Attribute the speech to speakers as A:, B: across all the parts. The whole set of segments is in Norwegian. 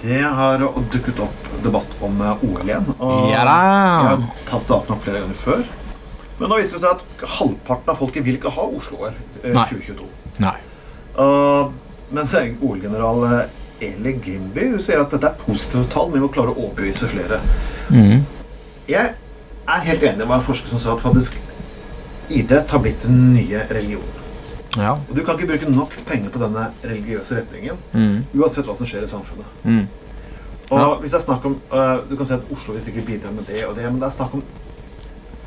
A: Det har dukket opp debatt om eh, OL igjen. Og
B: Ja
A: Jeg har
B: da!
A: tatt staten opp flere ganger før. Men nå viser det seg at halvparten av folket vil ikke ha Oslo-OL eh,
B: Nei.
A: 2022.
B: Nei.
A: Og- men det er OL-general eh, Eli Grimby hun sier at dette er positive tall, men vi må klare å overbevise flere.
B: Mm.
A: Jeg er helt enig med en forsker som sa at faktisk idrett har blitt den nye religionen.
B: Ja.
A: Og du kan ikke bruke nok penger på denne religiøse retningen
B: Mm.
A: uansett hva som skjer i samfunnet.
B: Mm.
A: Og
B: Ja.
A: hvis det er snakk om, øh, Du kan si at Oslo vil sikkert bidra med det og det, men det er snakk om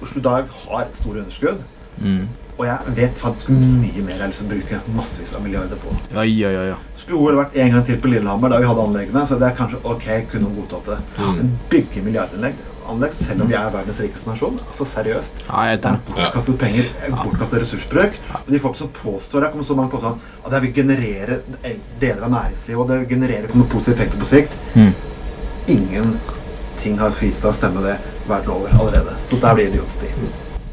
A: Oslo i dag har store underskudd,
B: Mm.
A: og jeg vet faktisk mye mer jeg har lyst til å bruke massevis av milliarder på.
B: Ja, ja, ja, ja.
A: Skulle OL vært en gang til på Lillehammer, da vi hadde anleggene, så det er kanskje ok, kunne hun godtatt det.
B: Mm.
A: Men bygge milliardanlegg, anlegg, selv om vi er verdens rikeste nasjon, altså seriøst
B: ja jeg er helt
A: det er
B: enig.
A: bortkastet penger, eh, bortkastet ressursbruk. Og de folk som påstår det, kommer så mange påstand at det vil generere deler av næringslivet, og det vil generere kommer positive effekter på sikt.
B: Mm.
A: Ingenting har fisa stemme det verden over allerede. Så der blir det idioti.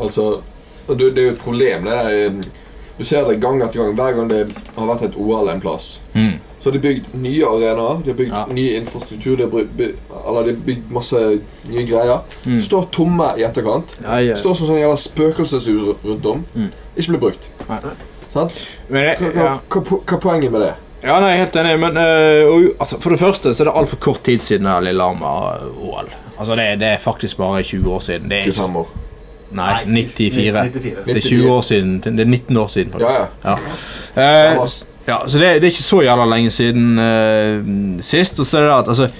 C: Altså, og du, det er jo et problem. Det er, eh, du ser det gang etter gang. Hver gang det har vært et OL en plass,
B: Mm.
C: så har de bygd nye arenaer, de har bygd
B: Ja.
C: ny infrastruktur, de har, bry- by, eller de har bygd masse nye greier.
B: Mm.
C: Står tomme i etterkant.
B: Ja, ja.
C: Står som sånn jævla spøkelseshus ru- rundt om.
B: Mm.
C: Ikke blir brukt.
B: Nei.
C: Sant?
D: Men
C: Hva,
D: jeg,
C: hva,
D: ja.
C: hva, po- hva er poenget med det?
D: ja, nei, jeg er helt enig, men eh, og, altså, for det første så er det altfor kort tid siden eh, Lillehammer-OL. Altså, det, det er faktisk bare 20 år siden. Det er ikke,
C: 25 år.
D: nei, 94.
A: 94.
D: Det er 20 år siden. Det er 19 år siden. faktisk.
C: Ja, ja.
D: Ja.
C: Ja,
D: Eh,
C: altså.
D: ja, så det, det er ikke så jævla lenge siden eh, sist. Og så er det at altså,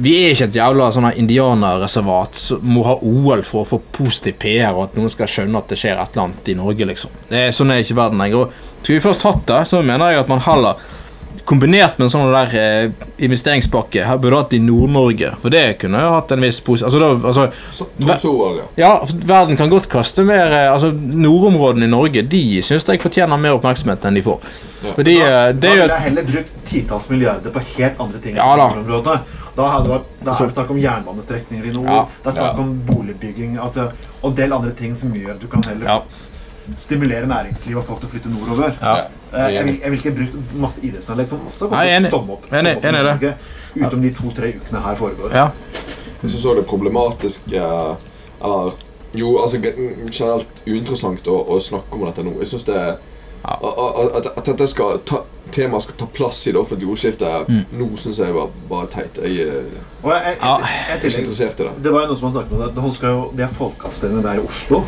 D: Vi er ikke et jævla sånn her indianerreservat som må ha OL for å få positiv PR, og at noen skal skjønne at det skjer et eller annet i Norge. liksom. Det er, sånn er ikke verden lenger. Og Skulle vi først hatt det, så mener jeg at man heller Kombinert med en sånn der eh, investeringspakke her burde hatt i Nord-Norge. For det kunne jo hatt en viss posi... Altså, da, altså,
C: Så- Tromsø-OL, ja.
D: ja, verden kan godt kaste mer eh, Altså, Nordområdene i Norge De syns jeg fortjener mer oppmerksomhet enn de får.
C: Ja.
D: Fordi eh,
A: Da
D: det er
A: ville
D: jo
A: jeg heller brukt titalls milliarder på helt andre ting.
D: Ja da.
A: i områdene. Da hadde det vært- da er det snakk om jernbanestrekninger i nord,
D: Ja.
A: det er snakk
C: Ja.
A: om boligbygging altså, og en del andre ting som gjør at du kan heller
D: Ja.
A: s- stimulere næringsliv og folk til å flytte nordover.
D: Ja.
C: Ja.
A: Eh, Jeg vil, jeg vil ikke bruke masse idrettsanlegg som også
D: Nei,
A: kommer til å
D: enig.
A: stomme opp. stomme
D: Enig-
A: opp i
D: enig i det.
A: Norge, Utenom de to-tre ukene her foregår.
D: Ja.
C: Jeg syns òg det er problematisk eh, Eller jo, altså ge- generelt uinteressant å, å snakke om dette nå. Jeg syns det er-
D: Ja.
C: a- a- At, at dette skal ta, temaet skal ta plass i det offentlige ordskiftet
D: Mm.
C: nå, syns jeg var bare teit. Jeg, eh,
A: Og jeg, jeg,
D: Ja.
A: jeg, jeg
C: er ikke
A: tillegg,
C: interessert i det.
A: det var jo noen som har snakket om det. Hun skal jo, det er folkeavstemning der i Oslo.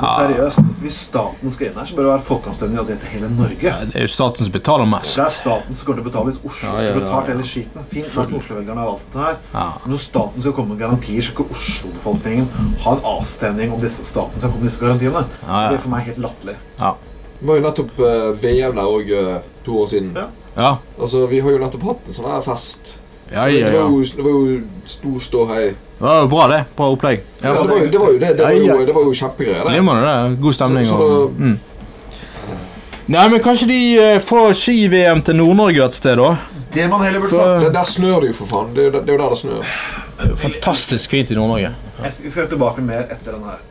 A: Men
D: Ja.
A: seriøst, hvis staten skal inn her, så bør det være folkeavstemning av det til hele Norge.
D: Det er jo staten som betaler mest.
A: Det er staten som kommer til å betale hvis Oslo
D: Ja,
A: skulle
D: ja, ja,
A: betalt
D: ja.
A: hele skiten. Fint at Oslo-velgerne har valgt dette her.
D: Ja.
A: Men når staten skal komme med garantier, så skal Oslo-befolkningen ha en avstemning om disse staten skal komme med disse garantiene.
D: Ja, ja.
A: Det blir for meg helt latterlig.
C: Det var jo nettopp eh, VM der òg to år siden.
A: Ja.
D: Ja.
C: Altså, Vi har jo nettopp hatt en sånn her fest.
D: Ja, ja,
C: Det,
D: ja.
C: var jo, det var jo stor ståhei.
D: Det var jo bra, det. Bra opplegg.
C: Ja,
D: Ja.
C: det, var jo, det var jo det. Det var
D: Ja,
C: jo,
D: ja.
C: det var jo kjempegreier.
D: Det
C: det.
D: må det, det. God stemning
C: Så- så
D: og
C: da-
D: mm. Nei, men kanskje de eh, får ski-VM til Nord-Norge et sted, da?
A: Det man heller burde
D: For-
A: tatt
C: Det, der snør det jo, for faen. Det, er jo der- det er jo der det snør.
D: Fantastisk fint i Nord-Norge.
A: Jeg skal jeg skal tilbake mer etter den her.